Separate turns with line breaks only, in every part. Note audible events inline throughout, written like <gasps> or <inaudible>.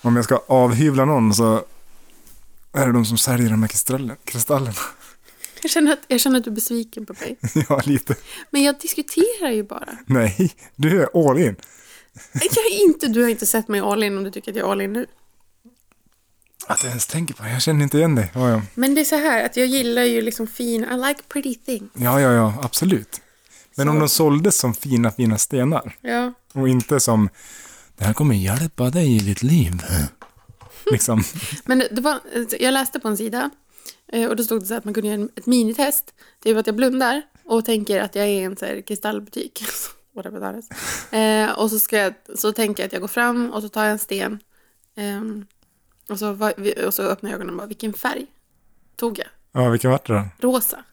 Om jag ska avhyvla någon så är det de som säljer de här kristallen- kristallerna. <laughs>
Jag känner, att, jag känner att du är besviken på mig.
ja, lite.
Men jag diskuterar ju bara.
Nej, du är all in.
Jag är inte, du har inte sett mig all in om du tycker att jag är all in nu.
Att jag ens tänker på det, jag känner inte igen dig. Ja, ja,
Men det är så här att jag gillar ju liksom fin, I like pretty things.
ja, ja, ja absolut. Men om de såldes som fina, fina stenar
Ja.
och inte som det här kommer hjälpa dig i ditt liv. <laughs> Liksom.
Men det var, jag läste på en sida eh, och då stod det så här att man kunde göra en- ett minitest. Typ att jag blundar och tänker att jag är i en så här kristallbutik. <laughs> Whatever that is. Eh, och så, ska jag, så tänker jag att jag går fram och så tar jag en sten. ehm, och, så, va- vi- och så öppnar jag ögonen och bara, vilken färg tog jag?
Ja, vilken vart det då?
Rosa.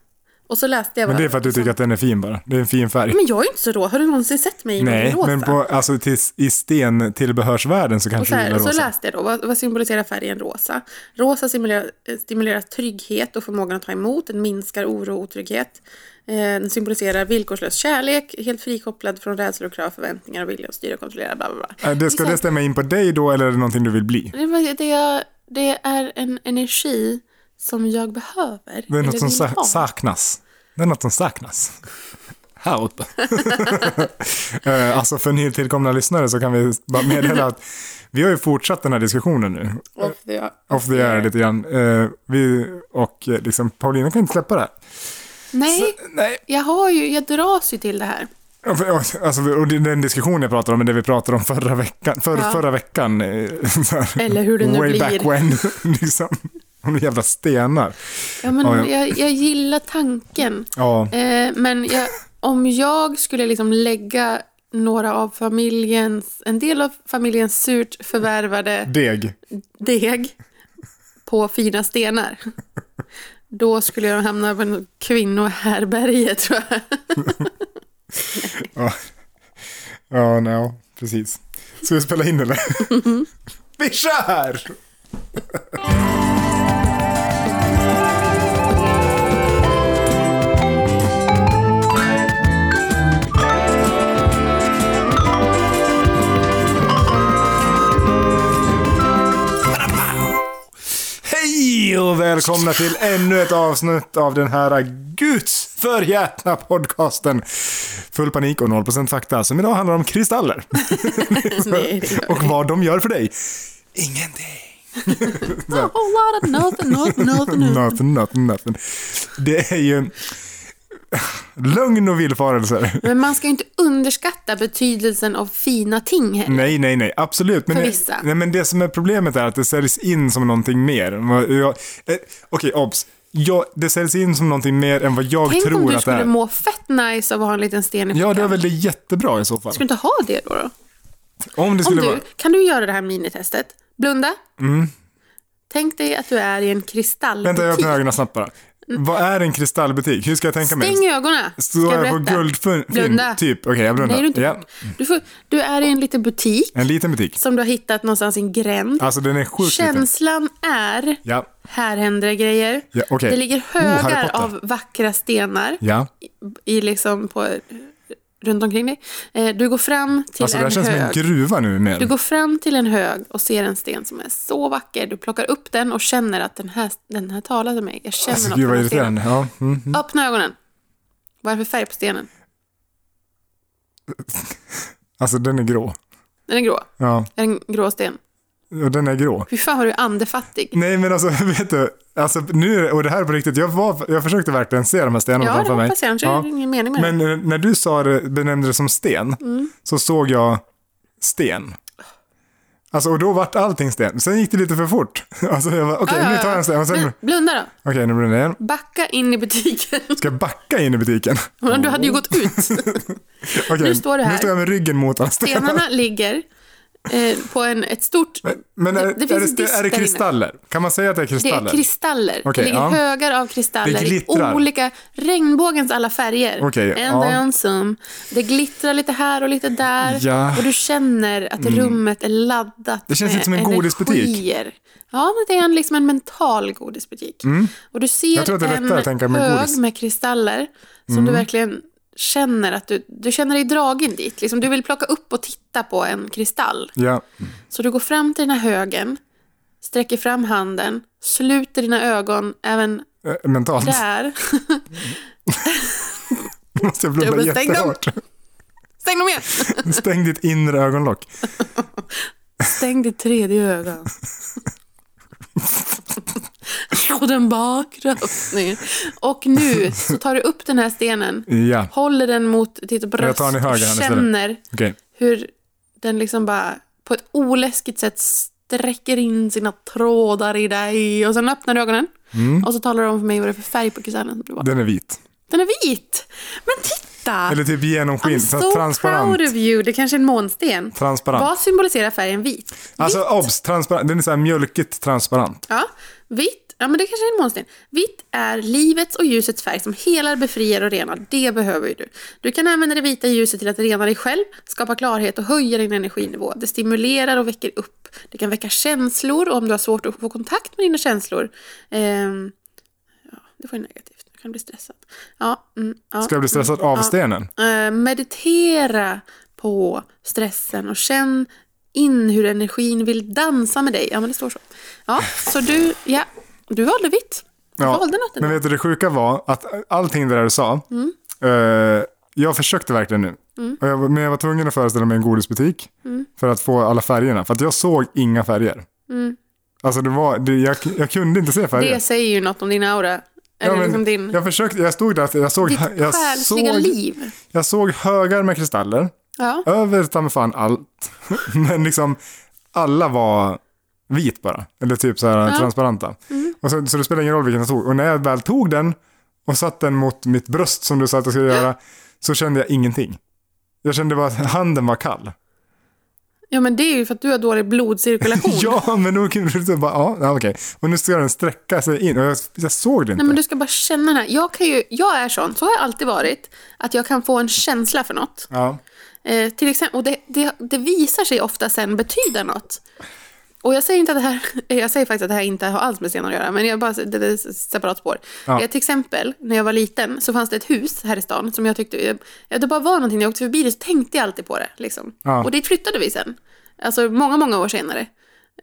Och så läste jag
Men
bara,
det är för att du tycker att den är fin bara. Det är en fin färg.
Men jag är inte så rå. Har du någonsin sett mig i
Nej,
rosa?
men på, alltså, till, i stentillbehörsvärlden så
Och
kanske
så,
du
här,
gillar
och så
rosa.
läste jag då, vad, vad symboliserar färgen rosa? Rosa simulerar, eh, stimulerar trygghet och förmågan att ta emot, den minskar oro och otrygghet. Eh, Den symboliserar villkorslös kärlek, helt frikopplad från rädslor och krav, förväntningar och vilja att styra och kontrollera, bla bla bla.
Äh, Det, ska det stämma in på dig då eller är det någonting du vill bli?
Det, var- det, jag- det är en energi som jag behöver.
Det är något
eller
som
vill
sa-
ha.
saknas. Det är något som saknas. <laughs> Här uppe. <laughs> Eh, alltså för nytillkomna lyssnare så kan vi bara meddela att vi har ju fortsatt den här diskussionen nu.
Och det-
Off the air lite grann. Eh, Vi, och eh, liksom, Paulina kan inte släppa det här.
Nej,
Nej,
jag, har ju, jag dras ju till det här.
Ja, för- ja, Alltså, och det är den diskussion jag pratar om är det vi pratade om förra veckan. För,
Ja.
förra veckan eh, <laughs> så här,
Eller hur det nu
way
blir.
back when. <laughs> Liksom. Om de jävla stenar.
Ja, men
Ja, ja.
Jag, jag gillar tanken.
Ja,
Eh, men jag, om jag skulle liksom lägga några av familjens, en del av familjens surt förvärvade
deg.
deg på fina stenar. Då skulle jag hamna på en kvinnohärbärge tror
<laughs>
jag.
Ja, nej, ja, precis. Ska vi spela in eller? vi kör! Hej och välkomna till ännu ett avsnitt av den här guds förjätna podcasten. Full panik och 0% fakta, som idag handlar om kristaller.
Nej, det gör
och vad de gör för dig. Ingenting.
A whole lot of nothing, nothing, nothing,
<laughs>
nothing.
Nothing, nothing, nothing. Det är ju lögn och villfarelser.
Men man ska ju inte underskatta betydelsen av fina ting heller.
Nej, nej, nej, absolut. Men
För
det-
vissa.
Nej, men det som är problemet är att det säljs in som någonting mer. Vad jag- eh, Okej, obs. Jag, det säljs in som någonting mer än vad jag
Tänk
tror
om du
att det
skulle
är.
må fett nice av att ha en liten sten i
Ja, det är
fickan.
väl det jättebra i så fall.
Ska du inte ha det då? då?
Om det
Om
skulle
du,
vara... Mm.
kan du göra det här minitestet? Blunda. Tänk dig att du är i en
Vänta, jag
kristallbutik.
öppnar ögonen snabbt bara. Vad är en kristallbutik? Hur ska jag tänka mig?
Mm. Stäng ögonen. Ska
Står jag på
berätta?
guldfynd?
Blunda.
Typ. Okej, jag blundar.
Nej, du, är inte.
ja.
Du, får, du är i en liten butik
En liten butik.
som du har hittat någonstans i en gränd.
Alltså den är sjukt liten.
Känslan är,
Ja.
här händer det grejer.
Ja, okej.
Det ligger
Oh, Harry
högar
Potter.
av vackra stenar
Ja.
i, i liksom på, runt omkring dig. Eh, Du går fram till
Alltså det här
en
känns som en
hög.
gruva nu
Du
mer.
går fram till en hög och ser en sten som är så vacker. Du plockar upp den och känner att den här, den här talar till mig. Jag känner
Alltså
något
gud
på
vad
den här stenen.
irriterande. Ja. Mm.
Öppna ögonen. Vad är det för färg på stenen?
Alltså den är grå.
Den är grå.
Ja,
Är den grå sten?
och den är grå.
Fy fan vad du är andefattig.
Nej men alltså <laughs> vet du. Alltså nu, och det här är på riktigt. Jag, var, jag försökte verkligen se de här stenarna
Ja, det
framför mig.
hoppas jag. Annars är det ingen mening med det. Mm.
Men eh, när du sa det, benämnde det som sten, så såg jag sten. Alltså, och då vart allting sten. Sen gick det lite för fort. <laughs> Alltså, jag bara, okej,
Ja, ja,
nu tar jag en sten. Och sen,
ja.
okej,
Bl- Blunda då.
nu blir det en.
Backa in i butiken. <laughs>
Ska jag backa in i butiken?
Men Du hade ju gått ut.
Okej,
<laughs> Nu står det här.
Nu står jag med ryggen mot alla stenar.
Stenarna ligger eh, på en, ett stort...
Men är
Det-
det,
det finns
är, det,
en
sten-
disk
är det
där inne.
kristaller? Kan man säga att det är
Det
kristaller?
är kristaller.
Okej,
det ligger
ja.
högar av kristaller
Det
i
glittrar.
olika, regnbågens alla färger.
Okej,
And
ja.
then some. Det glittrar lite här och lite där.
Ja. Mm.
Och du känner att rummet är laddat
Det känns
med
lite som en godisbutik.
energier. Ja, men det är en, liksom en mental
Mm.
godisbutik. Och du ser
Jag tror att det är lättare att tänka
en
med
hög
godis. Mm.
med kristaller som du verkligen känner att du, du känner dig dragen dit. Liksom, du vill plocka upp och titta på en kristall.
Ja.
Så du går fram till den här högen, sträcker fram handen, sluter dina ögon även
Eh, Mentalt. <laughs>
där.
Måste jag
Jag
blunda
bara, stäng dem.
jättehårt.
Stäng dem igen!
Stäng ditt inre
<laughs>
ögonlock.
Stäng ditt tredje
<laughs>
öga. Och den bakre öppningen. Och nu så tar du upp den här stenen,
Ja,
håller den mot ditt
Jag
bröst
tar den i höger
och
hand istället.
känner
okej.
hur den liksom bara på ett oläskigt sätt sträcker in sina trådar i dig. Och sen öppnar du ögonen.
Mm.
Och så talar du om för mig vad det är för färg på kristallen som du har.
Den är vit.
Den är vit! Men titta!
Eller typ
I'm
genomskinlig.
so
transparent.
proud of you. Det kanske Alltså, är en månsten.
Transparent.
Vad symboliserar färgen vit?
Alltså obs, transparent. Den är så här mjölkigt transparent.
Ja, vitt. Ja, men det kanske är en månsten. Vitt är livets och ljusets färg som helar, befriar och renar. Det behöver ju du. Du kan använda det vita ljuset till att rena dig själv, skapa klarhet och höja din energinivå. Det stimulerar och väcker upp. Det kan väcka känslor och om du har svårt att få kontakt med dina känslor. ehm, ja, det var ju negativt. Jag kan bli stressad. Ja, mm, ja,
Ska jag bli stressad av stenen?
Eh, meditera på stressen och känn in hur energin vill dansa med dig. Ja, men det står så. Ja, så du, ja, du valde vitt. Du
Ja,
valde något
Men
ändå. Mm.
vet du, det sjuka var att allting det där du sa, eh, jag försökte verkligen nu. Och jag, var- men jag var tvungen att föreställa mig en godisbutik
Mm.
för att få alla färgerna. För att jag såg inga färger. Alltså det var, det, jag, jag kunde inte se färger.
Mm. Det säger ju något om din aura.
Ja,
Eller
men
liksom din,
Jag försökte, jag stod där, jag såg,
ditt
jag
själsliga
såg,
liv.
jag såg högar med kristaller.
Ja,
Över ta mig fan allt. <laughs> Men liksom alla var vit bara. Eller typ så här transparenta.
Mm.
Och så, så det spelar ingen roll vilken jag tog. Och när jag väl tog den och satte den mot mitt bröst som du sa att jag skulle göra. Så kände jag ingenting. Jag kände bara att handen var kall.
ja, men det är ju för att du har dålig blodcirkulation.
<laughs> Ja, men då kunde du bara, ja, ja, okej. Och nu ska den sträcka sig in. Och jag, jag såg det inte.
Nej, men du ska bara känna den här. Jag, kan ju, jag är sån, så har jag alltid varit, att jag kan få en känsla för något.
Ja.
Eh, till exempel, och det, det, det visar sig ofta sen betyda något. Och jag säger, inte att det här, <laughs> jag säger faktiskt att det här inte har alls med stenar att göra, men jag bara, det det är ett separat spår.
Ja.
Eh, till exempel, när jag var liten så fanns det ett hus här i stan som jag tyckte, jag, det bara var någonting, när jag åkte förbi det så tänkte jag alltid på det. Liksom.
Ja.
Och dit flyttade vi sen, alltså många, många år senare.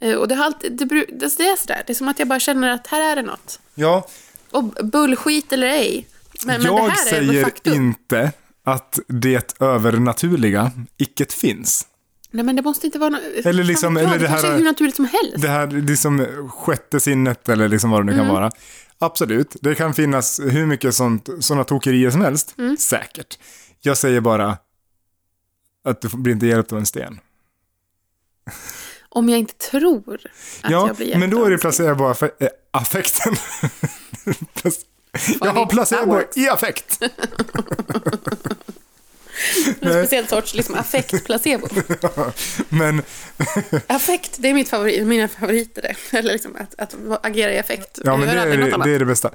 Eh, och det, har alltid, det, bru- det, det är sådär, det är som att jag bara känner att här är det något.
ja.
Och bullskit eller ej, men, men
jag
det här är
säger
faktum.
inte att det övernaturliga icket finns.
Nej men det måste inte vara något...
Eller liksom-
Fan vet jag,
eller det
kanske
här-
är hur naturligt som helst.
Det här liksom sjätte sinnet eller liksom vad det nu
Mm.
kan vara. Absolut, det kan finnas hur mycket sånt, sådana tokerier som helst.
Mm.
Säkert. Jag säger bara att du blir inte hjälpt av en sten. Om
Om jag inte tror att
ja,
jag blir hjälpt
men då är
av
det
en sten.
eh, placebo-affekten. <laughs> jag har
Funny, that
placebo
works.
i affekt.
En speciell sorts liksom,
<laughs>
affekt-placebo.
Men
affekt, det är mitt favorit, mina favoriter. <laughs> det. Eller liksom att, att agera i affekt.
Ja,
Jag
men
gör
det är
aldrig något
det,
annat.
det är det bästa.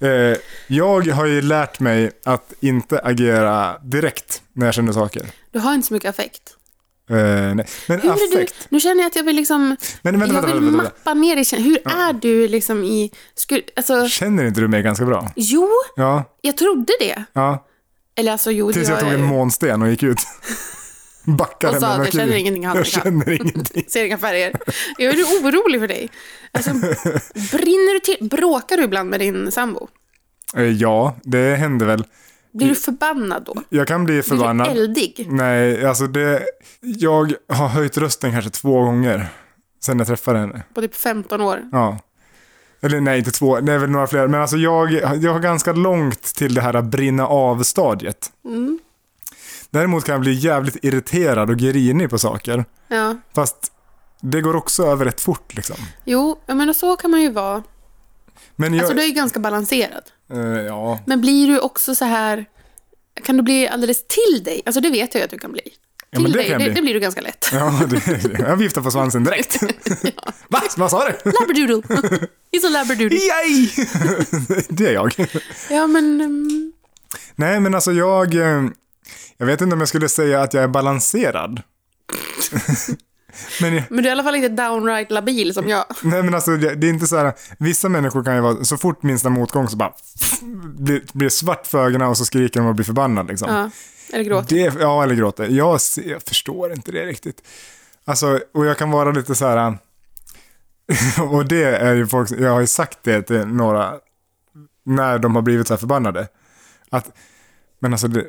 Eh, jag har ju lärt mig att inte agera direkt när jag känner saker.
Du har inte så mycket affekt.
Eh, nej. Men
Hur är du,
affekt.
nu känner jag att jag vill liksom...
Men vänta,
jag
vänta,
vill
vänta, vänta.
mappa ner i känslan. Hur är du liksom i... Sku, alltså,
Känner inte du mig ganska bra?
jo,
Ja,
jag trodde det.
ja.
Eller alltså, jo,
Tills
det
jag
gör
tog
jag
en
ju.
månstenen och gick
<laughs>
ut. Backade
Och sa att jag
Mercury.
känner ingenting, han
Jag
kan.
känner
<laughs>
ingenting.
Ser inga färger. Jag är ju orolig för dig.
<laughs>
Alltså, brinner du till? Bråkar du ibland med din sambo?
Eh, ja, det händer väl.
Blir du förbannad då?
Jag kan bli förbannad.
Blir du eldig?
Nej, alltså det... Jag har höjt rösten kanske två gånger sen jag träffade henne.
På typ 15 år?
Ja. Eller nej, inte två, det är väl några fler. Men alltså jag, jag har ganska långt till det här att brinna av-stadiet.
Mm.
Däremot kan jag bli jävligt irriterad och grinig på saker.
Ja.
Fast det går också över rätt fort liksom.
Jo, jag menar så kan man ju vara.
Men jag,
Alltså du är ju ganska balanserad.
eh, ja,
Men blir du också så här... Kan du bli alldeles till dig? Alltså det vet jag ju att du kan bli. Till
men det
dig,
kan jag
det,
bli.
det blir du
<laughs>
ganska lätt.
ja det, jag viftar på svansen direkt. Va? Vad sa du?
Labradoodle. <laughs> He's a labradoodle.
Yay! <laughs> det är jag.
Ja, men... mm,
Nej, men alltså jag... eh, Jag vet inte om jag skulle säga att jag är balanserad. Men, jag-
Men du är i alla fall inte downright labil som jag.
nej men alltså det det är inte så här, vissa människor kan ju vara, så fort minsta motgång så bara blir, blir svart för ögonen och så skriker de och blir förbannad liksom.
Ja. Eller gråter.
Det, ja, eller gråter. Jag, ser- jag förstår inte det riktigt. Alltså, och jag kan vara lite så här... äh, <laughs> Och det är ju folk, jag har ju sagt det till några när de har blivit så här förbannade. Att, men alltså det,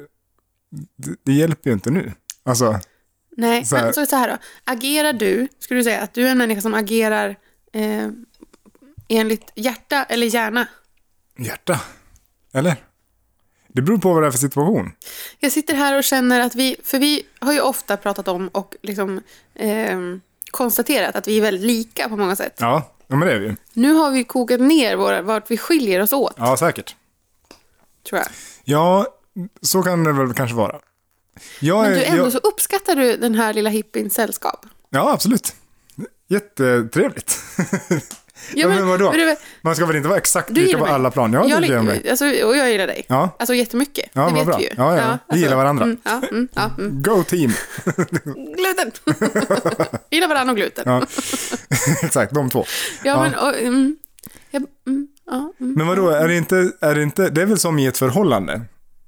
det, det hjälper ju inte nu. Alltså,
Nej,
Så här-
men så, så här då. Agerar du, skulle du säga att du är en människa som agerar eh, enligt hjärta eller hjärna?
hjärta. Eller? Det beror på vad det är för situation.
Jag sitter här och känner att vi, för vi har ju ofta pratat om och liksom ehm, konstaterat att vi är väldigt lika på många sätt.
Ja, ja men det är vi ju.
Nu har vi kokat ner våra, vart vi skiljer oss åt,
Ja, säkert.
tror jag.
Ja, så kan det väl kanske vara. Jag
Men du, ändå
jag,
så uppskattar du den här lilla hippiens sällskap.
Ja, absolut. Jättetrevligt. Ja, men vadå?
du,
Man ska väl inte vara exakt
Du
lika
gillar
på
mig.
alla plan? Jag,
jag,
gillar mig.
li- alltså, och jag gillar dig.
Ja,
Alltså jättemycket.
Ja,
det
vad
vet
bra.
vi ju.
Ja, ja. Vi gillar varandra.
Mm, ja, mm, ja, mm.
go team. <laughs>
Gluten! gillar varandra och gluten. Ja,
Ja. exakt, de två.
men... Och, mm, jag, mm, ja, mm.
Men vadå, är det inte, är det inte, det är väl som i ett förhållande?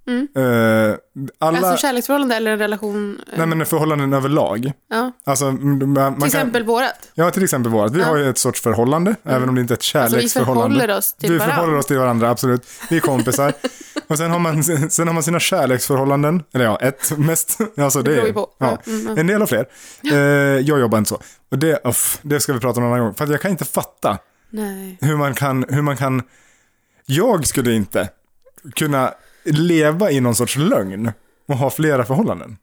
Eh, alla,
Mm. Alltså kärleksförhållande eller en relation. eh,
nej men förhållanden överlag.
ja.
Alltså, m- man
Till
kan,
exempel vårat.
Ja, till exempel vårt. Vi
Ja.
har ju ett sorts förhållande, även om det inte är ett
Alltså vi
kärleksförhållande.
förhåller oss till
vi
varandra.
förhåller oss till varandra, absolut. Vi är
<laughs>
kompisar. och sen har, man, sen har man sina kärleksförhållanden. Eller ja, ett mest. <laughs> Alltså det,
Det beror
är,
ju på.
Ja,
Ja, mm, ja.
en del har fler. Eh, jag jobbar inte så. Och det, uff, det ska vi prata om en annan gång. För att jag kan inte fatta
Nej.
hur man kan, hur man kan... Jag skulle inte kunna leva i någon sorts lögn och ha flera förhållanden.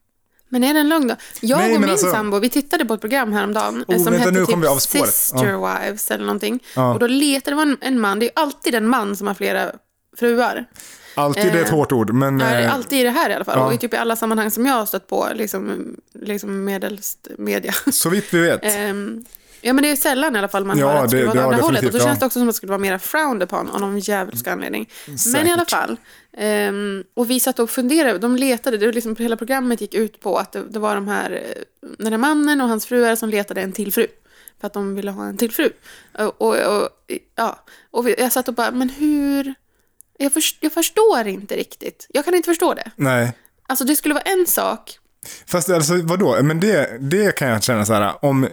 Men är det en lögn då? Jag
Nej,
och
men
min
alltså-
sambo, vi tittade på ett program häromdagen
Oh,
oh, som
vänta, nu
hette
kommer vi av
typ
spåret.
Sister Wives eller någonting.
Ja.
Och då letade man en man, det är ju alltid en man som har flera fruar.
Alltid är ett
Eh,
hårt ord, men...
Ja, det är
eh,
alltid i det här i alla fall.
Ja.
Och i typ i alla sammanhang som jag har stött på, liksom, liksom medelst media.
så vitt vi vet.
Ehm, ja, men det är sällan i alla fall man
Ja,
hör att det skulle
det-
vara
det- ja,
åt andra hållet. Och då
definitivt,
känns
ja.
det också som att det skulle vara mera frowned upon av någon djävulsk anledning. Men i alla fall. ehm, och vi satt och funderade, de letade, det var liksom, hela programmet gick ut på att det, det var de här, eh, den här mannen och hans fruar som letade en till fru. För att de ville ha en till fru. Och, och, och, ja. och vi- jag satt och bara, men hur? Jag, förs- jag förstår inte riktigt. Jag kan inte förstå det.
Nej.
Alltså det skulle vara en sak.
Fast alltså vadå, men det, det kan jag känna så här, om,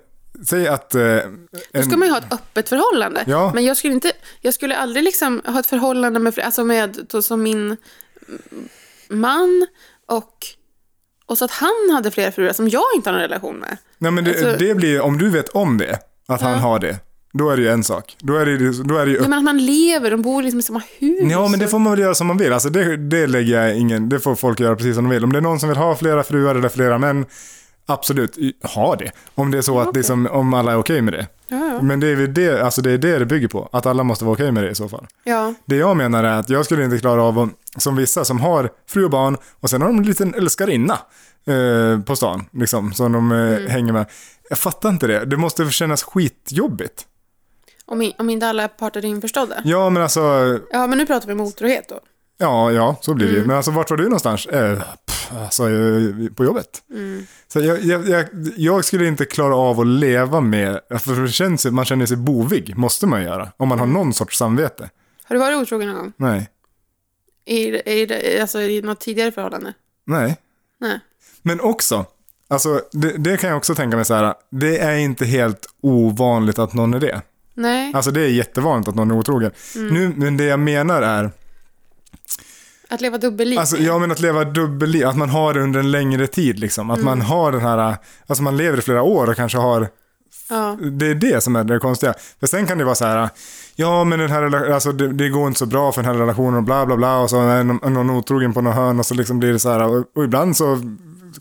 säg att... Eh,
Då ska
en-
man ju ha ett öppet förhållande.
Ja.
Men jag skulle, inte, jag skulle aldrig liksom ha ett förhållande med, fler- alltså med to, som min mm, man och, och så att han hade flera fruar som jag inte har någon relation med.
nej men det,
alltså-
det blir, om du vet om det, att han har det, då är det ju en sak. Då är det, ju- då är det ju
Jag
upp.
menar att man lever, de bor liksom i samma hus.
Ja, men det
och-
får man väl göra som man vill. Alltså det, det lägger jag ingen, det får folk göra precis som de vill. Om det är någon som vill ha flera fruar eller flera män, absolut, i- ha det. Om det är så att
okej.
liksom, om alla är okej med det.
Ja, ja.
Men det är väl det, alltså det är det det bygger på, att alla måste vara okej med det i så fall.
ja.
Det jag menar är att jag skulle inte klara av, om- som vissa som har fru och barn och sen har de en liten älskarinna eh, på stan, liksom, som de eh, hänger med. Jag fattar inte det. Det måste kännas skitjobbigt.
Om, i- om inte alla parter är införstådda.
Ja, men alltså,
Ja, men nu pratar vi om otrohet då.
ja, ja, så blir det ju. Men alltså, vart var du någonstans? Eh, pff, alltså, eh, på jobbet. Så jag, jag, jag, jag skulle inte klara av att leva med, alltså, för det känns, man känner sig bovig, måste man göra, om man har någon sorts samvete.
Har du varit otrogen någon gång?
Nej,
I, i, i, alltså, I något tidigare förhållande?
nej.
Nej.
Men också, alltså, det, det kan jag också tänka mig så här, det är inte helt ovanligt att någon är det.
Nej,
Alltså det är jättevanligt att någon är otrogen. Nu, men det jag menar är,
att leva dubbelliv.
alltså, jag menar att leva dubbelliv, att man har det under en längre tid liksom. Att man har den här, alltså man lever i flera år och kanske har
ja.
det är det som är det konstiga. För sen kan det vara så här, ja men den här rela- alltså, det, det går inte så bra för den här relationen och bla bla bla och så är någon, någon otrogen på någon hörn och så liksom blir det så här och, och ibland så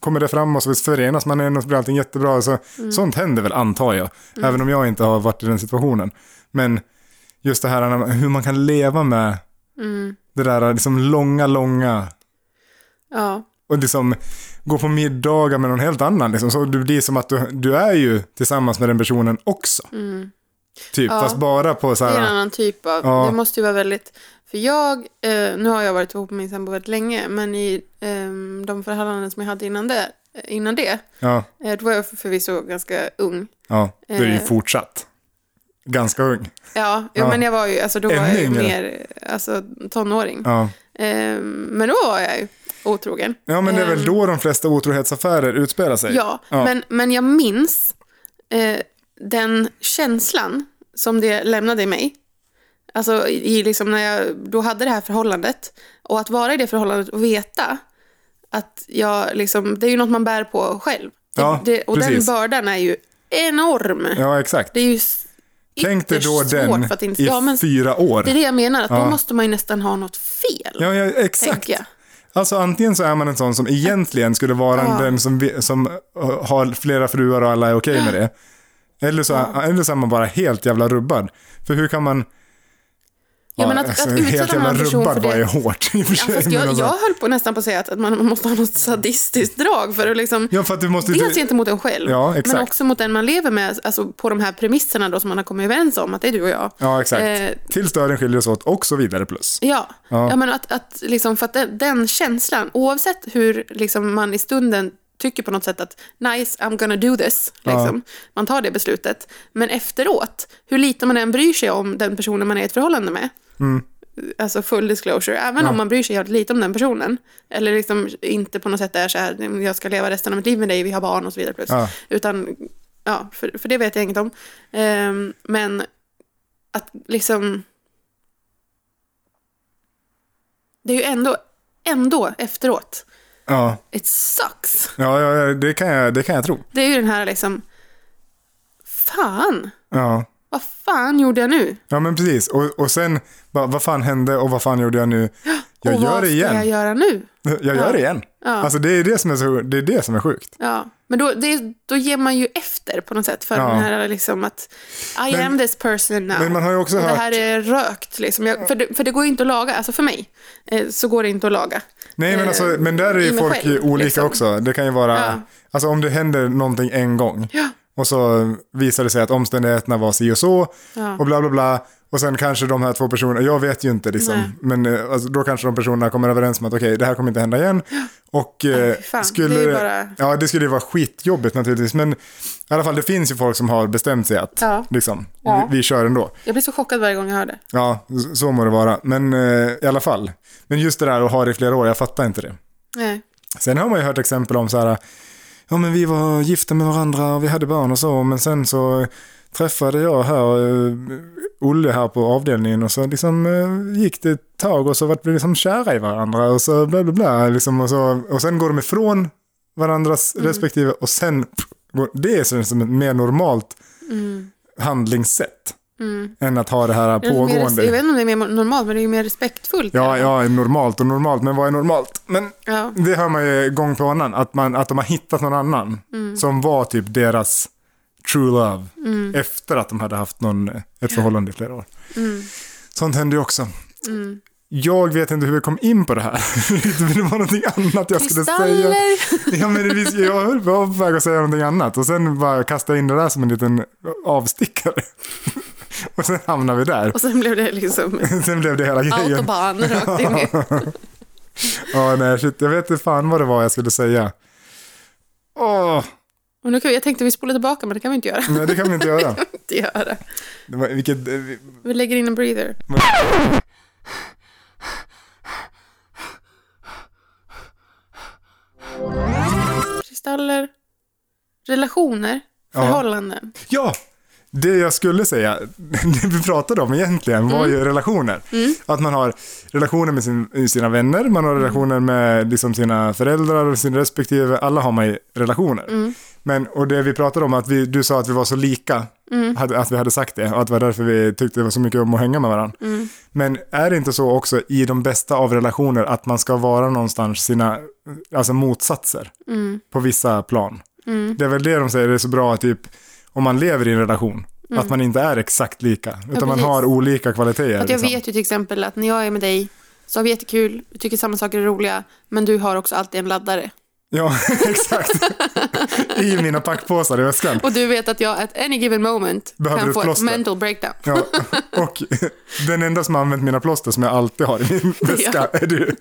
kommer det fram och så förenas man igen och så blir allting jättebra. Så, Sånt händer väl antar jag, även om jag inte har varit i den situationen. Men just det här när man- hur man kan leva med det där liksom långa, långa
ja.
och liksom gå på middagar med någon helt annan. Liksom. Så det blir som att du, du är ju tillsammans med den personen också. Typ,
Mm. Ja.
fast bara på så
Det är en
här...
annan typ av,
Ja.
det måste ju vara väldigt, för jag, eh, nu har jag varit ihop med min sambo väldigt länge, men i eh, de förhållanden ehm, som jag hade innan det, innan det.
Ja,
Eh, Då var jag förvisso ganska ung.
ja. Då är det ju
Eh.
fortsatt. Ganska ung.
Ja, ja,
Ja.
men jag var ju, alltså då var
Ännu
jag ju
yngre.
mer alltså, tonåring.
Ja.
Eh, Men då var jag ju otrogen.
ja, men det är väl
Ehm.
då de flesta otrohetsaffärer utspelar sig.
Ja, Men, men jag minns eh, den känslan som det lämnade i mig. Alltså i, i liksom när jag då hade det här förhållandet. Och att vara i det förhållandet och veta att jag liksom, det är ju något man bär på själv. Det,
Ja,
det, och
precis.
den bördan är ju enorm.
ja exakt.
Det är ju s-
Tänk dig
ytterst
då den
svårt för att inte...
i
Ja, men
fyra år.
det är det jag menar, att
Ja.
då måste man ju nästan ha något fel.
Ja, ja, exakt.
tänker jag.
Alltså antingen så är man en sån som egentligen skulle vara
Ja.
den som, vi- som eh, har flera fruar och alla är okej med det. Eller så, eller så är man bara helt jävla rubbad. För hur kan man...
Ja, men att,
alltså,
att utsätta
helt
den
jävla
här personen
rubbad
för
var ju
det.
hårt <laughs> i och för
Ja,
sig.
fast
men
jag,
alltså-
jag höll på nästan på att säga att, att man måste ha något sadistiskt drag för att liksom...
ja, för att du måste...
Dels
Du,
gentemot en själv,
Ja,
men
exakt.
också mot den man lever med, alltså på de här premisserna då som man har kommit överens om, att det är du och jag.
ja, exakt.
Eh,
Tills döden skiljer oss åt och så vidare plus.
Ja,
Ja.
ja. men att, att liksom, för att den, den känslan, oavsett hur liksom, man i stunden tycker på något sätt att nice, I'm gonna do this, liksom. man tar det beslutet, men efteråt, hur lite man än bryr sig om den personen man är i ett förhållande med, alltså full disclosure, även om man bryr sig jävligt lite om den personen, eller liksom inte på något sätt är så här, jag ska leva resten av mitt liv med dig, vi har barn och så vidare, plus.
Ja.
utan, ja, för, för det vet jag inget om, Ehm, men att liksom, det är ju ändå, ändå efteråt,
Ja,
it sucks.
ja, ja ja, det, kan jag, det kan jag tro.
Det är ju den här liksom, fan,
Ja.
vad fan gjorde jag nu?
Ja men precis, och, och sen bara, vad fan hände och vad fan gjorde jag
<gasps>
nu? Jag
och
gör
vad
det igen.
ska jag
Jag,
göra nu?
gör det igen.
Ja.
Alltså det är det som är, så, det är, det som är sjukt.
Ja, men då, det, då ger man ju efter på något sätt för
Ja.
den här liksom att I
Men-
am this person now.
men man har ju också
och
hört-
Det här är rökt liksom. Jag, för, det, för det går ju inte att laga, alltså för mig eh, så går det inte att laga.
Nej men
Eh,
alltså, men där är
i
ju
mig
folk
själv,
olika
liksom.
också. Det kan ju vara,
Ja.
alltså om det händer någonting en gång
Ja.
och så visar det sig att omständigheterna var si och så
Ja.
och bla bla bla. Och sen kanske de här två personerna, jag vet ju inte liksom,
Nej.
men eh, alltså, då kanske de personerna kommer överens om att okej, det här kommer inte hända igen. Och eh,
fy fan,
skulle,
det är ju bara-
ja, det skulle ju vara skitjobbigt naturligtvis, men i alla fall det finns ju folk som har bestämt sig att
Ja.
liksom,
Ja.
vi, vi kör ändå.
Jag blir så chockad varje gång jag hör det.
Ja, s- så må det vara, men eh, i alla fall. Men just det där att ha det i flera år, jag fattar inte det.
Nej.
Sen har man ju hört exempel om så här, ja men vi var gifta med varandra och vi hade barn och så, men sen så träffade jag här eh, Olle här på avdelningen och så liksom eh, gick det ett tag och så vart vi liksom kära i varandra och så bla bla bla liksom och så, och sen går de ifrån varandras
Mm.
respektive och sen pff, går, det är så- som ett mer normalt handlingssätt än att ha det här
Mm. Det är mer,
pågående.
jag vet inte om det är mer normalt, men det är ju mer respektfullt.
Ja, ja, normalt och normalt, men vad är normalt? Men
Ja.
det hör man ju gång på annan, att, man, att de har hittat någon annan som var typ deras true love efter att de hade haft någon, ett förhållande i flera år. Sånt händer ju också. Jag vet inte hur vi kom in på det här. <laughs> det var någonting annat jag skulle säga.
Kristaller!
Ja, men det visst, jag höll på att väga säga någonting annat och sen bara kastade jag in det där som en liten avstickare. <laughs> och sen hamnade vi där.
<laughs>
<laughs>
Och sen blev det liksom
Sen blev det hela grejen.
autobahn rakt in i...
Ja, nej, shit, jag vet inte fan vad det var jag skulle säga. Åh,
Och nu kan vi, jag tänkte vi spolar tillbaka, men det kan vi inte göra. <laughs>
nej det kan vi inte göra.
Inte göra.
Det var, vilket, eh, vi-
Vi lägger in en breather. Kristaller, relationer,
Ja.
förhållanden.
ja, det jag skulle säga, <laughs> det vi pratade om egentligen var ju relationer. Att man har relationer med sin, sina vänner, man har relationer med liksom sina föräldrar och sina respektive, alla har man ju relationer. Men, och det vi pratade om, att vi, du sa att vi var så lika, hade, att vi hade sagt det, och att det var därför vi tyckte det var så mycket om att hänga med varandra. Men är det inte så också i de bästa av relationer att man ska vara någonstans sina alltså motsatser på vissa plan? Det är väl det de säger, det är så bra typ om man lever i en relation, att man inte är exakt lika, utan man
Mm. precis.
har olika kvaliteter.
Att jag
liksom.
vet ju till exempel att när jag är med dig så har vi jättekul, vi tycker samma saker är roliga, men du har också alltid en laddare.
Ja, <laughs> exakt. I mina packpåsar i väskan.
Och du vet att jag at any given moment
Behöver du
kan
ett
få ett
plåster?
mental breakdown.
Ja, och den enda som har använt mina plåster som jag alltid har i min väska är du.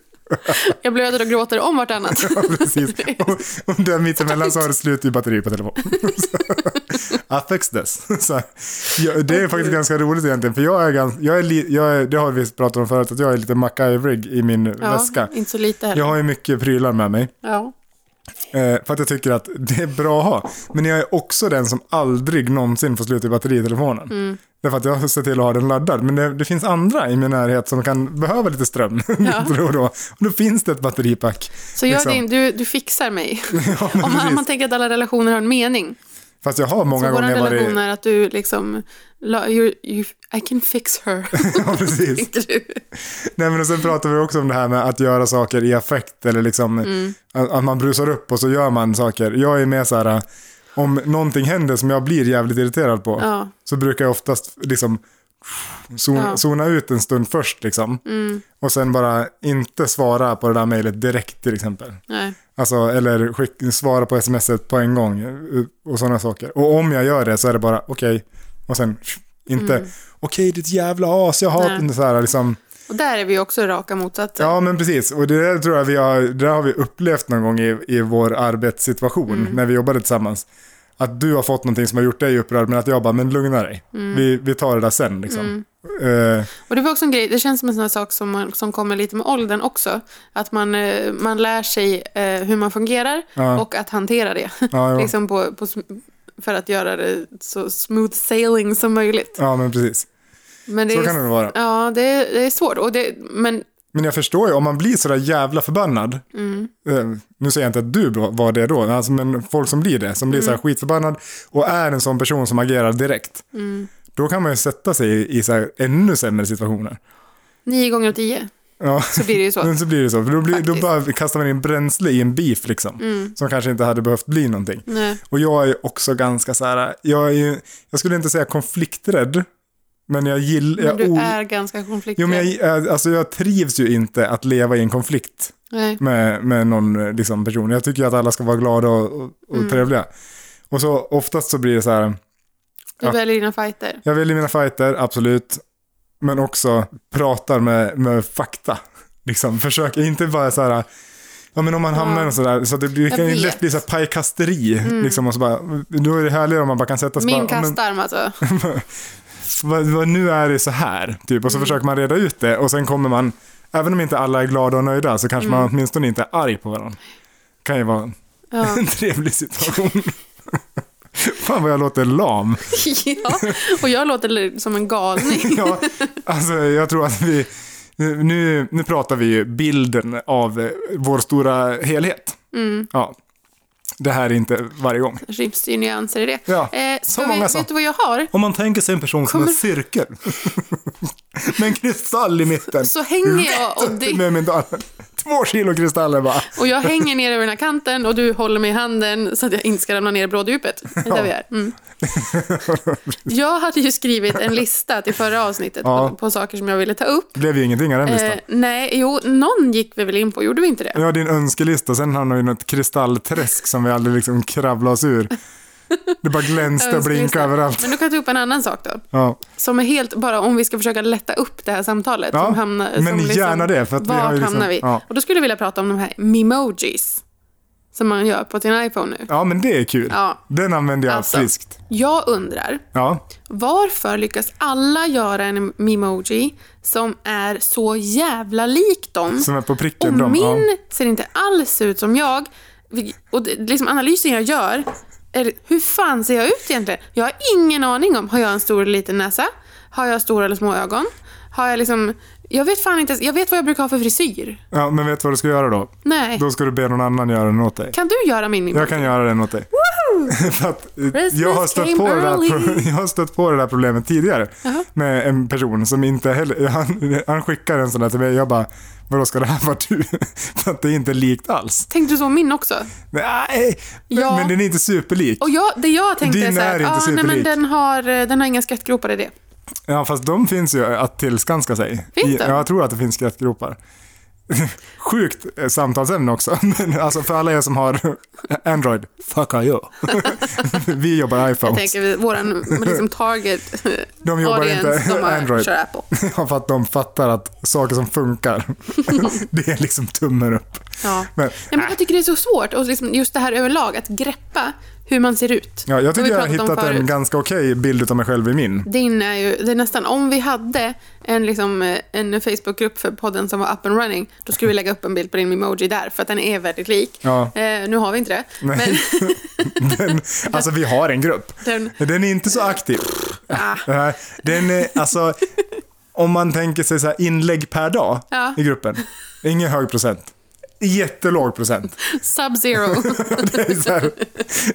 Jag blöder och gråter om vartannat.
<laughs> Ja, precis. Om, om du är mittemellan så har du slut i batteri på <laughs> telefonen. Affex dess. Så, här. ja, det är faktiskt ganska roligt egentligen, för jag är ganska, jag är, li- jag är det har vi pratat om förut, att jag är lite MacGyverig i min väska.
inte så lite heller.
Jag har ju mycket prylar med mig,
Ja.
eh, för att jag tycker att det är bra att ha. Men jag är också den som aldrig någonsin får slut i batteri i telefonen.
Mm.
Därför att jag ser till att ha den laddad. Men det, det finns andra i min närhet som kan behöva lite ström. <laughs>
Ja.
då, och då. Och då finns det ett batteripack. <laughs>
Så gör
Liksom.
din, du, du fixar
<laughs>
mig.
Ja, men
Om man,
precis.
man tänker att alla relationer har en mening.
Fast jag har många
så vår
gånger varit...
relation är att du liksom, la- you, you, I can fix her.
<laughs> <laughs> Ja, precis.
Tänker du.
Nej, men och sen pratar vi också om det här med att göra saker i affekt eller liksom
Mm.
att, att man brusar upp och så gör man saker. Jag är mer så här, äh, om någonting händer som jag blir jävligt irriterad på
Ja.
så brukar jag oftast liksom zon,
Ja. Mm.
zona ut en stund först liksom. Och sen bara inte svara på det där mejlet direkt till exempel.
Nej.
Alltså, eller skick, svara på smset på en gång eh, och sådana saker. Och om jag gör det så är det bara okej. Och sen inte okej ditt jävla as, jag hatar
Mm. Nej.
inte så här liksom.
Och där är vi också raka motsatser.
Ja men precis, och det där tror jag vi har, det där har vi upplevt någon gång i, i vår arbetssituation
Mm.
när vi jobbade tillsammans. Att du har fått någonting som har gjort dig upprörd men att jag bara, men lugna dig.
Mm.
Vi, vi tar det där sen liksom. Eh,
Och det var också en grej, det känns som en sån här sak som, man, som kommer lite med åldern också. Att man, eh, man lär sig eh, hur man fungerar
Ja.
och att hantera det.
ja, jo.
<laughs> liksom på, på, sm- för att göra det så smooth sailing som möjligt.
ja men precis,
Men det
så
är,
kan det vara.
Ja, det är, det är svårt. Och det, men
Men jag förstår ju, om man blir sådär jävla förbannad.
Mm.
Eh, nu säger jag inte att du var det då, alltså, men folk som blir det, som blir
Mm.
såhär skitförbannad och är en sån person som agerar direkt.
Mm.
Då kan man ju sätta sig i, i såhär ännu sämre situationer.
nio gånger av tio
Ja.
så blir det
<laughs>
ju så.
Men så blir det så, för då, blir, då
Faktiskt. Mm.
bara kastar man in bränsle i en beef liksom. Som kanske inte hade behövt bli någonting.
Nej.
Och jag är ju också ganska så här, jag är ju, jag skulle inte säga konflikträdd, men jag gillar,
Men
jag,
du
o-
är ganska konflikträdd.
jo, men jag, alltså jag trivs ju inte att leva i en konflikt
Nej.
med, med någon eh, liksom, person. Jag tycker ju att alla ska vara glada och, och, och
Mm.
trevliga. Och så oftast så blir det så här,
Du
Ja.
väljer dina fighter.
jag väljer mina fighter, absolut. Men också pratar med, med fakta. <laughs> Liksom, försök inte bara så här, ja men om man hamnar i
Ja.
något sådär, så det, blir- det
Jag
kan ju
vet. Mm.
lätt bli så här pajkasteri. Liksom, och så bara, då är det härligare om man bara kan sätta sig
Min
bara, ja, men, <laughs>
kastarm alltså.
vad, vad, nu är det så här, typ. Och
Mm.
så försöker man reda ut det och sen kommer man, även om inte alla är glada och nöjda, så kanske
Mm.
man åtminstone inte är arg på varandra. Kan ju vara
Ja.
en <laughs> trevlig situation. <laughs> Fan vad jag låter lam.
ja. Och jag låter som en galning.
<laughs> Ja, alltså jag tror att vi, nu, nu pratar vi ju bilden av eh, vår stora helhet.
Mm.
Ja. Det här är inte varje gång.
Det ryms ju nyanser i det.
Ja,
Eh,
så
ska vi,
många
vet
så.
du vad jag har?
Om man tänker sig en person som
Kommer-
en cirkel. <laughs> med en kristall i mitten.
Så
Mm.
hänger jag och, det,
<laughs> Med medaljen. Två kilo kristaller bara.
och jag hänger ner över den här kanten och du håller mig i handen så att jag inte ska ramla ner i bråddjupet. Det är där vi är.
<laughs>
Mm. Jag hade ju skrivit en lista till förra avsnittet
Ja.
på, på saker som jag ville ta upp.
Det blev ju ingenting av den listan.
Eh, nej, jo, någon gick vi väl in på, gjorde vi inte det?
Ja, din önskelista. Sen hamnade vi i något kristallträsk som vi aldrig liksom kravlade oss ur. Det bara
<laughs>
glänste och
Önskelista.
blinkade överallt.
Men då kan jag ta upp en annan sak då.
Ja.
Som är helt, bara om vi ska försöka lätta upp det här samtalet.
Ja,
som hamnar,
men
som
gärna det, för att vi
vart
har ju liksom-
hamnar vi?
ja.
Och då skulle jag vilja prata om de här memojis. Som man gör på sin iPhone nu.
ja, men det är kul.
Ja.
Den använder jag
Alltså.
friskt.
Jag undrar,
Ja.
varför lyckas alla göra en memoji som är så jävla lik dem?
Som är på
Och
pricken. Typ de, ja.
min ser inte alls ut som jag. Vi- Och det- liksom analysen jag gör, är, hur fan ser jag ut egentligen? Jag har ingen aning om, har jag en stor eller liten näsa? Har jag stora eller små ögon? Har jag liksom, jag vet fan inte, ens- jag vet vad jag brukar ha för frisyr.
Ja, men vet du vad du ska göra då?
Nej.
Då ska du be någon annan göra den åt dig.
Kan du göra min mimo?
Jag kan göra den åt dig. <laughs> För att, eh, jag, har
Christmas
stött
came
på det där,
early.
pro- <laughs> jag har stött på det där problemet tidigare med en person som inte heller, <laughs> han, han skickar en sån där till mig jag bara, vadå ska det här vara du? <laughs> För att det är inte likt alls.
Tänkte du så om min också?
Nej,
Ja.
men den är inte superlik.
Och jag, det jag tänkte
Din
är så
är
här,
inte
ah, nej, men
superlik.
den har, den har inga skrattgropar i det.
Ja, fast de finns ju att tillskanska sig.
Finns
I-
de?
Ja, jag tror att det finns skrattgropar. <laughs> Sjukt eh, samtalsämne också. <laughs> Men alltså för alla er som har <laughs> Android, fuck are you. <laughs> Vi jobbar
Jag
iPhones. <laughs>
tänker våran liksom target
De jobbar
audience,
inte
de
<laughs>
har,
Android.
kör Apple.
Ja, för att de fattar att saker som
<laughs>
funkar, <laughs> det är liksom tummen upp.
Ja.
Men,
Ja, men jag tycker det är så svårt, och liksom just det här överlag, att greppa hur man ser ut.
ja, jag tycker jag har hittat en
en
ganska okej bild av mig själv i min.
Din är ju, det är nästan, om vi hade en, liksom, eh, en Facebookgrupp för podden som var up and running, då skulle vi lägga upp en bild på din emoji där, för att den är väldigt lik.
Ja.
Eh, nu har vi inte det, men
<laughs> Den, alltså vi har en grupp.
den,
Den är inte så aktiv.
ah,
<laughs> Nej, Den är, alltså, om man tänker sig så här inlägg per dag
Ja.
i gruppen. det är Ingen hög procent. Jättelåg procent.
<laughs>
<laughs>
sub-zero.
Det är så här,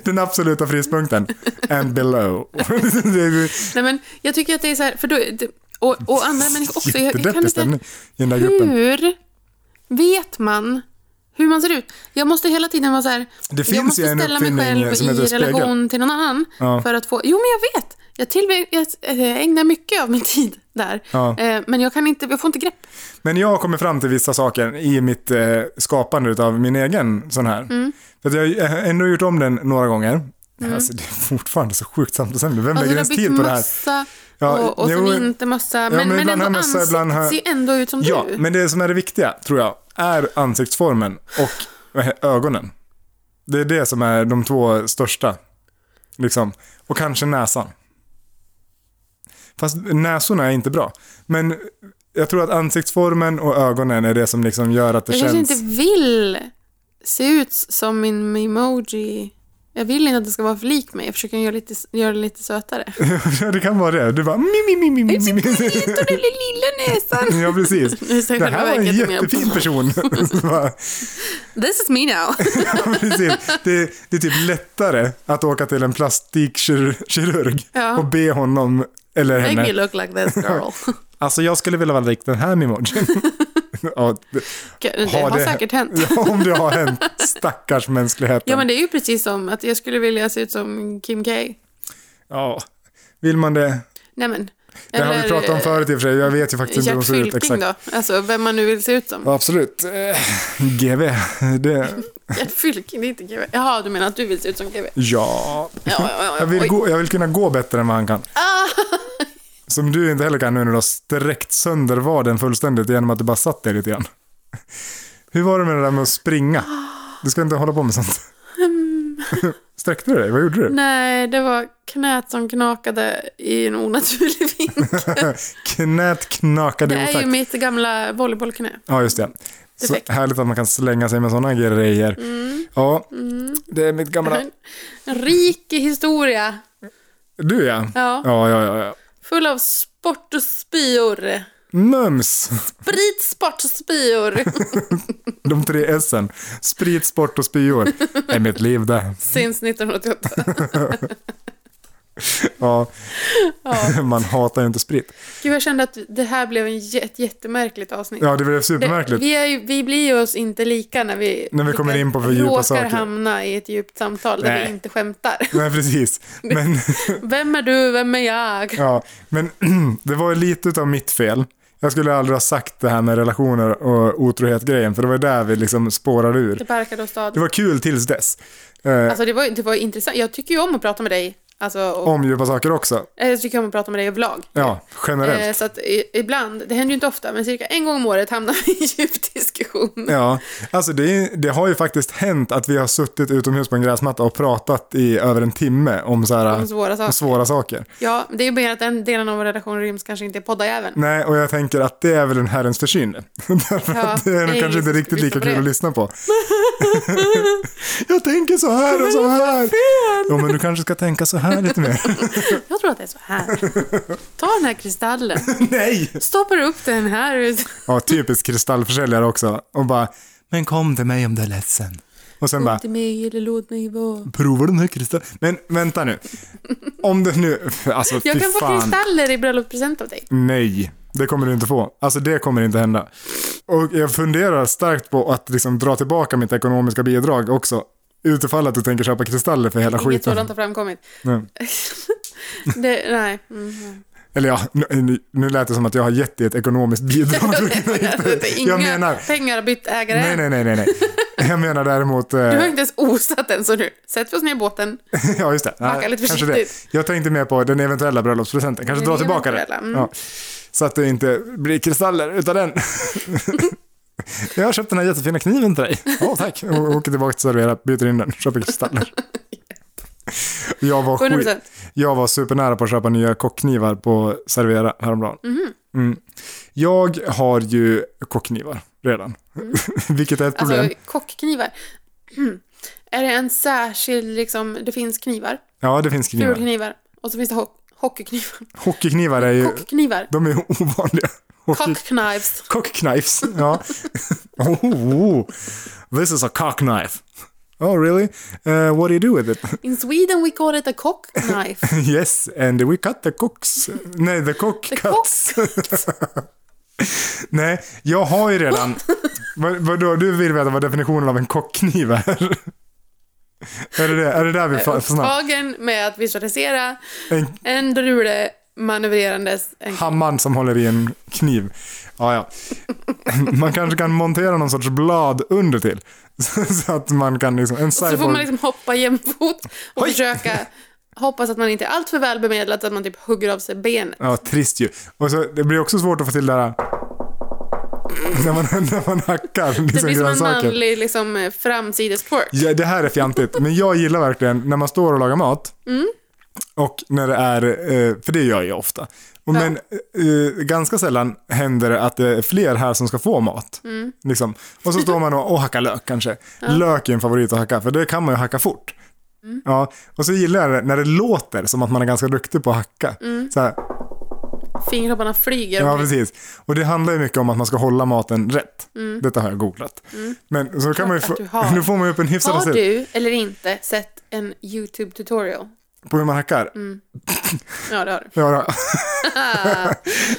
den absoluta fryspunkten. And below. <laughs> Det är
Nej, men jag tycker att det är så här, för då, det- och, och andra människor också. Jag, jag kan
jättedeppig
inte,
stämning
Mm.
i den där gruppen.
hur vet man hur man ser ut? Jag måste hela tiden vara så här,
Det
jag
finns
måste
ju en
ställa mig
uppfinning
själv
som
i
heter spegel.
relation till någon annan
Ja.
för att få, jo men jag vet, jag, tillbring, jag eh, ägnar mycket av min <laughs> tid där,
Ja.
Eh, men jag kan inte, jag får inte grepp.
Men jag har kommit fram till vissa saker i mitt eh, skapande av min egen sån här.
Mm.
För att jag har ändå gjort om den några gånger. Alltså, det är fortfarande så sjukt samtalsämne. Vem lägger
du Mm. Alltså, har
ens
bytt
tid på det här?
mössa
Ja,
och, och
jo,
sen inte mössa, men,
men
men,
ibland
ändå
har mössa,
ansiktet
ibland har-
ser ändå ut som
Ja,
du.
men det som är det viktiga, tror jag, är ansiktsformen och ögonen. Det är det som är de två största. Liksom. Och kanske näsan. Fast näsorna är inte bra. Men jag tror att ansiktsformen och ögonen är det som liksom gör att det
Jag kanske
känns...
inte vill se ut som min emoji. Jag vill inte att det ska vara för lik mig. Jag försöker göra, lite, göra det
<laughs>
lite sötare.
Ja, det kan vara det. Du bara... Mi, mi, mi, mi, mi, mi, mi.
Den lilla, lilla näsan.
Ja,
<laughs>
precis.
Nu säger
Det
själva
här var en
verket mer.
jättefin
<laughs>
person. <laughs> Så bara,
This is me now.
Ja, precis. Det, det är typ lättare att åka till en plastikkirurg
Ja.
och be honom eller
Make me
henne.
look like
<laughs>
this girl.
Alltså jag skulle vilja vara lik den här
<laughs>
mimojin. ja, det-
Det har säkert hänt.
Ja, om det har hänt. Stackars mänskligheten.
Ja, men det är ju precis som att jag skulle vilja se ut som Kim K.
Ja. Vill man det?
Nej, men.
Det har vi pratat om förut i och för sig. Jag vet ju faktiskt inte hur de
eh, Gert
ser ut
Fylking
exakt.
då? Alltså vem man nu vill se ut som.
Ja, absolut. Eh, GV. Det,
Gert Fylking, det är inte GW. Jaha, du menar att du vill se ut som GW?
ja.
Ja, ja, ja.
Jag
Oj. Ah.
vill, gå, jag vill kunna gå bättre än vad han kan.
<laughs>
Som du inte heller kan nu när du har sträckt sönder vaden fullständigt genom att du bara satt dig lite grann. Hur var det med det där med att springa? Du ska inte hålla på med sånt. Sträckte du dig? Vad gjorde
<laughs>
du?
Nej, det var knät som knakade i en onaturlig
<laughs>
vinkel.
Knät knakade
Det
i
är ju
otakt.
mitt gamla volleybollknä.
Ja, just det. Så
Defekt.
härligt att man kan slänga sig med sådana grejer.
Mm.
Ja, det är mitt gamla...
En rik historia.
Du ja.
Ja.
Ja, ja, ja. ja.
Full av sport och spyor.
Mums!
Sprit, sport och spyor.
De tre S'en. Sprit, sport och
<laughs>
spyor. är mitt liv det.
Since 1988.
Ja.
Ja.
<laughs> Man hatar ju inte sprit.
Gud, jag kände att det här blev en jät, jättemärkligt avsnitt.
Ja, det blev
det,
supermärkligt.
vi, är ju, vi blir ju oss inte lika när vi,
När vi kommer in på för djupa
råkar
saker.
hamna i ett djupt samtal där
Nej.
vi inte skämtar. <laughs>
Nej, precis. Men,
Vem är du? Vem är jag?
ja, men <clears throat> det var ju lite av mitt fel. Jag skulle aldrig ha sagt det här med relationer och otrohet-grejen, för det var där vi liksom spårade
Det
ur.
barkade stad.
Det var kul tills dess. Eh,
Alltså det var, det var intressant. Jag tycker ju om att prata med dig. Alltså, och,
om djupa saker också.
eh, jag tycker om att prata med dig överlag.
Ja,
Eh,
generellt.
så att i, ibland, det händer ju inte ofta, men cirka en gång om året hamnar vi i en djup diskussion.
Ja, alltså det, är- det har ju faktiskt hänt att vi har suttit utomhus på en gräsmatta och pratat i över en timme om så här
Om svåra saker.
svåra saker.
Ja, det är ju mer att den delen av vår relation ryms kanske inte i poddajäveln.
Nej, och jag tänker att det är väl en herrens försynne. <laughs> Därför
Ja,
att det är
det
nog
är
kanske
ingen
inte
som
riktigt lika
lyssnar på
kul
det.
att lyssna
<laughs>
på. jag tänker så här och så här. Jo, men du kanske ska tänka så här lite mer.
<laughs> Jag tror att det är så här. Ta den här kristallen,
Nej!
stoppar upp den här. ut-
Ja, typisk kristallförsäljare också. Och bara, men kom till mig om du är ledsen. Och sen bara,
Inte mig eller låt mig vara.
prova den här kristallen. Men vänta nu. Om du nu, alltså fy
Jag kan få
fan.
kristaller i bröllopspresent av dig.
Nej, det kommer du inte få. Alltså det kommer inte hända. Och jag funderar starkt på att liksom dra tillbaka mitt ekonomiska bidrag också. Utifall att du tänker köpa kristaller för hela
<laughs> Inget
skiten.
sådant har framkommit.
Nej.
det, nej. Mm.
Eller ja, nu, nu lät det som att jag har gett dig ett ekonomiskt
<laughs>
bidrag.
Inga
jag menar...
pengar har bytt ägare.
Nej, nej, nej, nej. nej. Jag menar däremot... eh,
Du har inte ens osat än så nu. Sätt oss ner i båten.
<laughs> Ja, just det. Ja,
Backa lite
kanske
försiktigt.
det. Jag tänkte mer på den eventuella bröllopspresenten. Kanske
Den
dra tillbaka det.
eventuella, mm.
Ja. Så att det inte blir kristaller utan den. <laughs> jag har köpt den här jättefina kniven till dig. Ja, tack. Och åker tillbaka till Servera, byter in den, köper <laughs> kristaller. Jag var, skit,
100%.
jag var supernära på att köpa nya kockknivar på Servera häromdagen. Mm. Jag har ju kockknivar redan, <laughs> vilket är ett problem.
Alltså kockknivar. Mm. Är det en särskild, liksom, det finns knivar.
ja, det finns knivar.
Fulknivar. Och så finns det ho- hockeyknivar.
Hockeyknivar är ju,
Kockknivar.
de är ju ovanliga. Hockey-
Cockknives.
Cockknives. <laughs> Ja. oh, this is a cockknife. Oh, really? Uh, what do you do with it?
In Sweden we call it a cockknife.
<laughs> yes, and we cut the cocks. Nej, the cock
The
cuts. Nej, jag har ju <laughs> redan... Vad, vadå, du vill veta vad definitionen av en kockkniv är? är, det det? är det där vi fa- fastnar?
Tagen med att visualisera
En
en drule manövrerandes en
hammaren som håller i en kniv. Ja, ja. Man kanske kan montera någon sorts blad under till. <laughs> Så att man kan liksom... En
Så får man
cyborg...
liksom hoppa jämfot och
Oj.
försöka hoppas att man inte är alltför välbemedlad så att man typ hugger av sig benet.
Ja, trist ju. Och så, det blir också svårt att få till det här... När man, <laughs> när man hackar
Det
liksom
blir som en
grönsaker.
manlig liksom, eh, framsidestwerk.
Ja, det här är fjantigt, men jag gillar verkligen när man står och lagar mat.
Mm.
Och när det är, eh, för det gör jag ofta. Och Men eh, ganska sällan händer det att det är fler här som ska få mat.
Mm.
Liksom. Och så står man och, och hackar lök kanske. Lök är en favorit att hacka, för det kan man ju hacka fort.
Mm.
Ja, och så gillar jag det när det låter som att man är ganska duktig på att hacka.
Mm.
Så här,
Fingertopparna flyger.
Ja, precis. Och det handlar ju mycket om att man ska hålla maten rätt. Detta har jag googlat. Men så kan man ju få,
Mm. att du har.
nu får man ju upp en hyfsad
Har
recept
du eller inte sett en YouTube tutorial?
på hur man hackar.
Mm. Ja, det har du.
Ja,
<laughs>
då.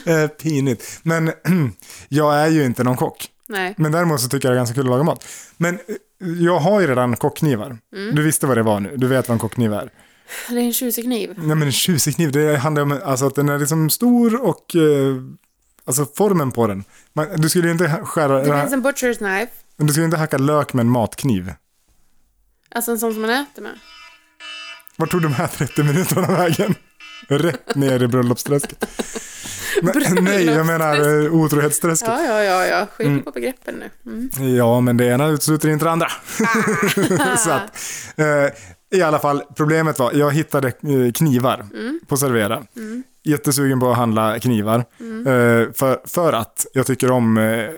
Eh, Pinigt. Men <clears throat> jag är ju inte någon kock.
Nej.
Men däremot så tycker jag det är ganska kul att laga mat. Men eh, jag har ju redan kockknivar.
Mm.
Du visste vad det var nu. Du vet vad en kockkniv är.
Det är en tjusig kniv.
Nej men en tjusig kniv, det handlar om alltså, att den är liksom stor och eh, alltså formen på den. Man, du skulle ju inte ha- skära...
Det liksom- finns en butcher's knife.
Men du ska ju inte hacka lök med en matkniv.
Alltså en sån som man äter med.
Vart tog de här 30 minuterna vägen? Rätt ner i bröllopsträsket. Men, nej, jag menar eh, otrohetsträsket.
Ja, ja, ja, ja. Skilj på begreppen nu. Mm.
Ja, men det ena utesluter inte det andra. <laughs> så att, eh, I alla fall, problemet var, jag hittade eh, knivar på Servera. Jättesugen på att handla knivar. Eh, för, för att jag tycker om eh,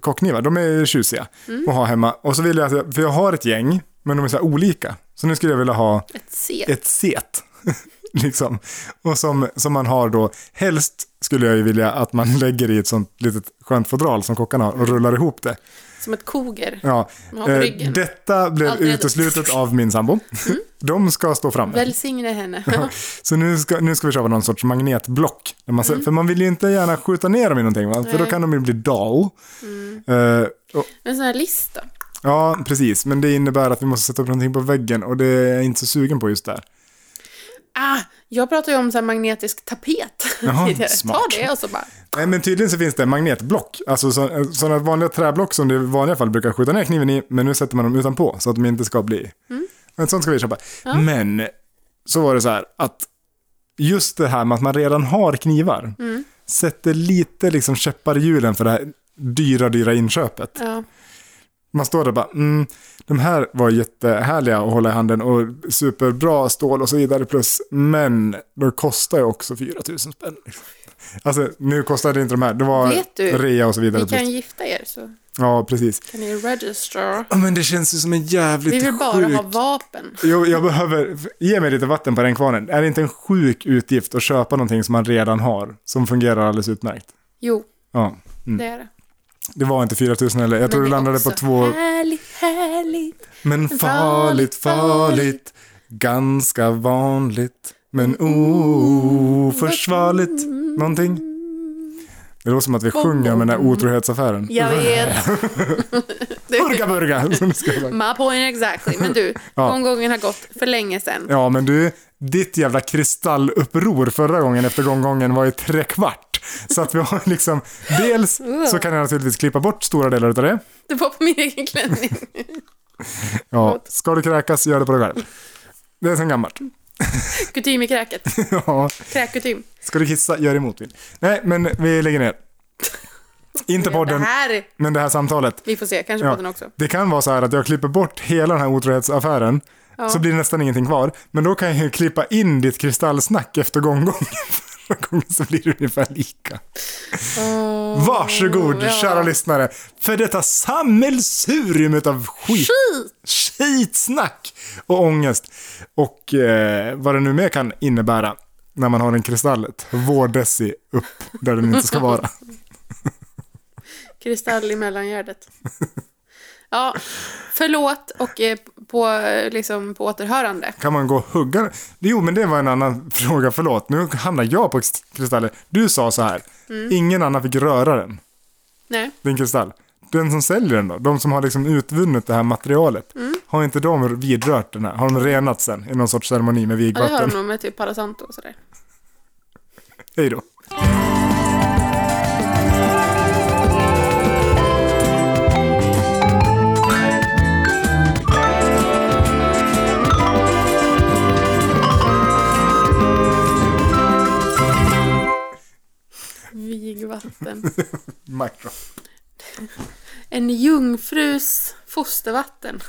kockknivar, de är tjusiga att ha hemma. Och så vill jag, att jag- för jag har ett gäng, men de är så här olika. Så nu skulle jag vilja ha
Ett C.
ett set. <laughs> liksom. Och som, som man har då, helst skulle jag ju vilja att man <laughs> lägger i ett sånt litet skönt fodral som kockarna har och rullar ihop det.
Som ett koger.
Ja.
Man har på
eh,
ryggen.
detta blev
Allt Mm. redo.
uteslutet av min sambo. <laughs> De ska stå framme.
Välsigne henne.
Så nu ska, nu ska vi köpa någon sorts magnetblock. Där man, För man vill ju inte gärna skjuta ner dem i någonting, va? för då
Mm. Nej. Mm.
kan de ju bli dull. Eh, och,
<laughs> En sån här lista.
ja, precis. Men det innebär att vi måste sätta upp någonting på väggen och det är jag inte så sugen på just där.
Ah, jag pratar ju om så här magnetisk tapet.
Jaha,
tidigare. <laughs> Ta
smart.
det och så bara...
Nej, men tydligen så finns det magnetblock. Alltså så- sådana vanliga träblock som du i vanliga fall brukar skjuta ner kniven i, men nu sätter man dem utanpå så att de inte ska bli. Ett sånt ska vi köpa. Men så var det så här att just det här med att man redan har knivar sätter lite liksom käppar i hjulen för det här dyra, dyra inköpet.
Ja.
Man står där och bara, mm, de här var jättehärliga att hålla i handen och superbra stål och så vidare plus, men de kostar ju också 4 000 spänn. liksom. Alltså nu kostade inte de här, det var
Vet du?
rea och så vidare.
Ni kan
plus.
gifta er så
Ja, precis.
kan ni register.
Ja, Men det känns ju som en jävligt
Vi vill bara
sjuk...
ha vapen.
Jo, jag behöver, ge mig lite vatten på den kvarnen. Är det inte en sjuk utgift att köpa någonting som man redan har, som fungerar alldeles utmärkt?
Jo,
Ja,
det är det.
det var inte 4 000 eller, Mm. jag tror
Men
det
är
landade på
också
två...
Härligt, härligt.
Men farligt, farligt, Mm. ganska vanligt, men oförsvarligt. Någonting. Det låter som att vi sjunger om den där otrohetsaffären.
Jag vet.
Burga, <laughs> burga! som det ska vara.
My point exactly. Men du,
<laughs> Ja.
omgången har gått för länge sedan.
Ja, men du, ditt jävla kristalluppror förra gången efter gånggången var ju trekvart. Så att vi har liksom, dels så kan jag naturligtvis klippa bort stora delar av det.
Det var på min
<laughs>
egen klänning.
Ja, ska du kräkas, gör det på dig själv. Det är sen gammalt. <laughs>
Kutym i kräket.
Ja.
Kräkkutym.
Ska du kissa, gör emot vill. Nej, men vi lägger
<laughs>
ner. Inte podden,
Det här,
men det här samtalet.
vi får se, kanske
Ja.
podden också.
Det kan vara så här att jag klipper bort hela den här otrohetsaffären,
Ja.
så blir det nästan ingenting kvar. Men då kan jag ju klippa in ditt kristallsnack efter gånggången. <laughs> Förra gången så blir det ungefär lika.
Åh,
Varsågod,
ja.
kära lyssnare, för detta sammelsurium utav skit,
Skit!
skitsnack och ångest. Och eh, vad det nu mer kan innebära när man har en kristall två deci upp där den inte ska vara.
<laughs> Kristall i mellangärdet. Ja, förlåt och eh, på, eh, liksom, på återhörande.
Kan man gå och hugga den? Jo, men det var en annan fråga, förlåt. Nu hamnar jag på kristaller. Du sa så här,
Mm.
ingen annan fick röra den,
Nej,
din kristall. Den som säljer den då, de som har liksom utvunnit det här materialet,
Mm.
har inte de vidrört den här? Har de renat sen i någon sorts ceremoni med
ja, det har
vigvatten?
de nog med typ Palo Santo och sådär.
Hej då.
Vigvatten.
Mic drop.
En jungfrus fostervatten.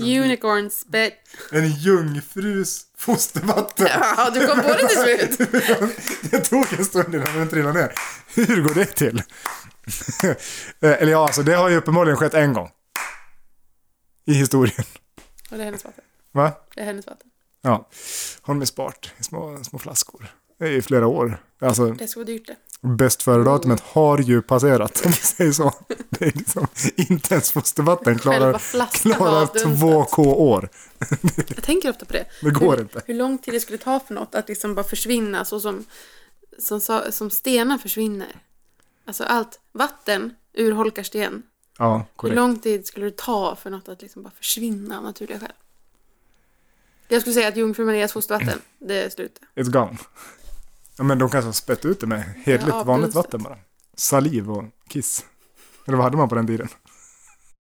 Unicorns bet.
En jungfrus fostervatten.
Ja, du kom på det till slut.
<laughs> Jag tog en stund innan den trillade ner. Hur går det till? <laughs> Eller ja, alltså det har ju uppenbarligen skett en gång. I historien.
Och det är hennes vatten.
Va?
Det är hennes vatten.
Ja. Har de ju sparat i små, små flaskor. Det är I flera år. Alltså,
Det ska vara dyrt det.
bäst
Mm.
före-datumet har ju passerat, om vi säger så. Det är liksom, inte ens fostervatten
Själva
klarar,
flaskan
klarar
var dumt.
2K-år.
Jag tänker ofta på det.
Det går
hur,
inte.
Hur lång tid det skulle ta för något att liksom bara försvinna så som, som, sa- som stenar försvinner. Alltså allt vatten urholkar sten.
Ja,
Hur
korrekt.
lång tid skulle det ta för något att liksom bara försvinna av naturliga skäl? Jag skulle säga att Jungfru
<clears throat>
Marias fostervatten, det är slut.
It's gone. Ja, men de kanske har spett ut det med hederligt
Ja,
vanligt
bruset.
vatten bara. Saliv och kiss. Eller vad hade man på den tiden?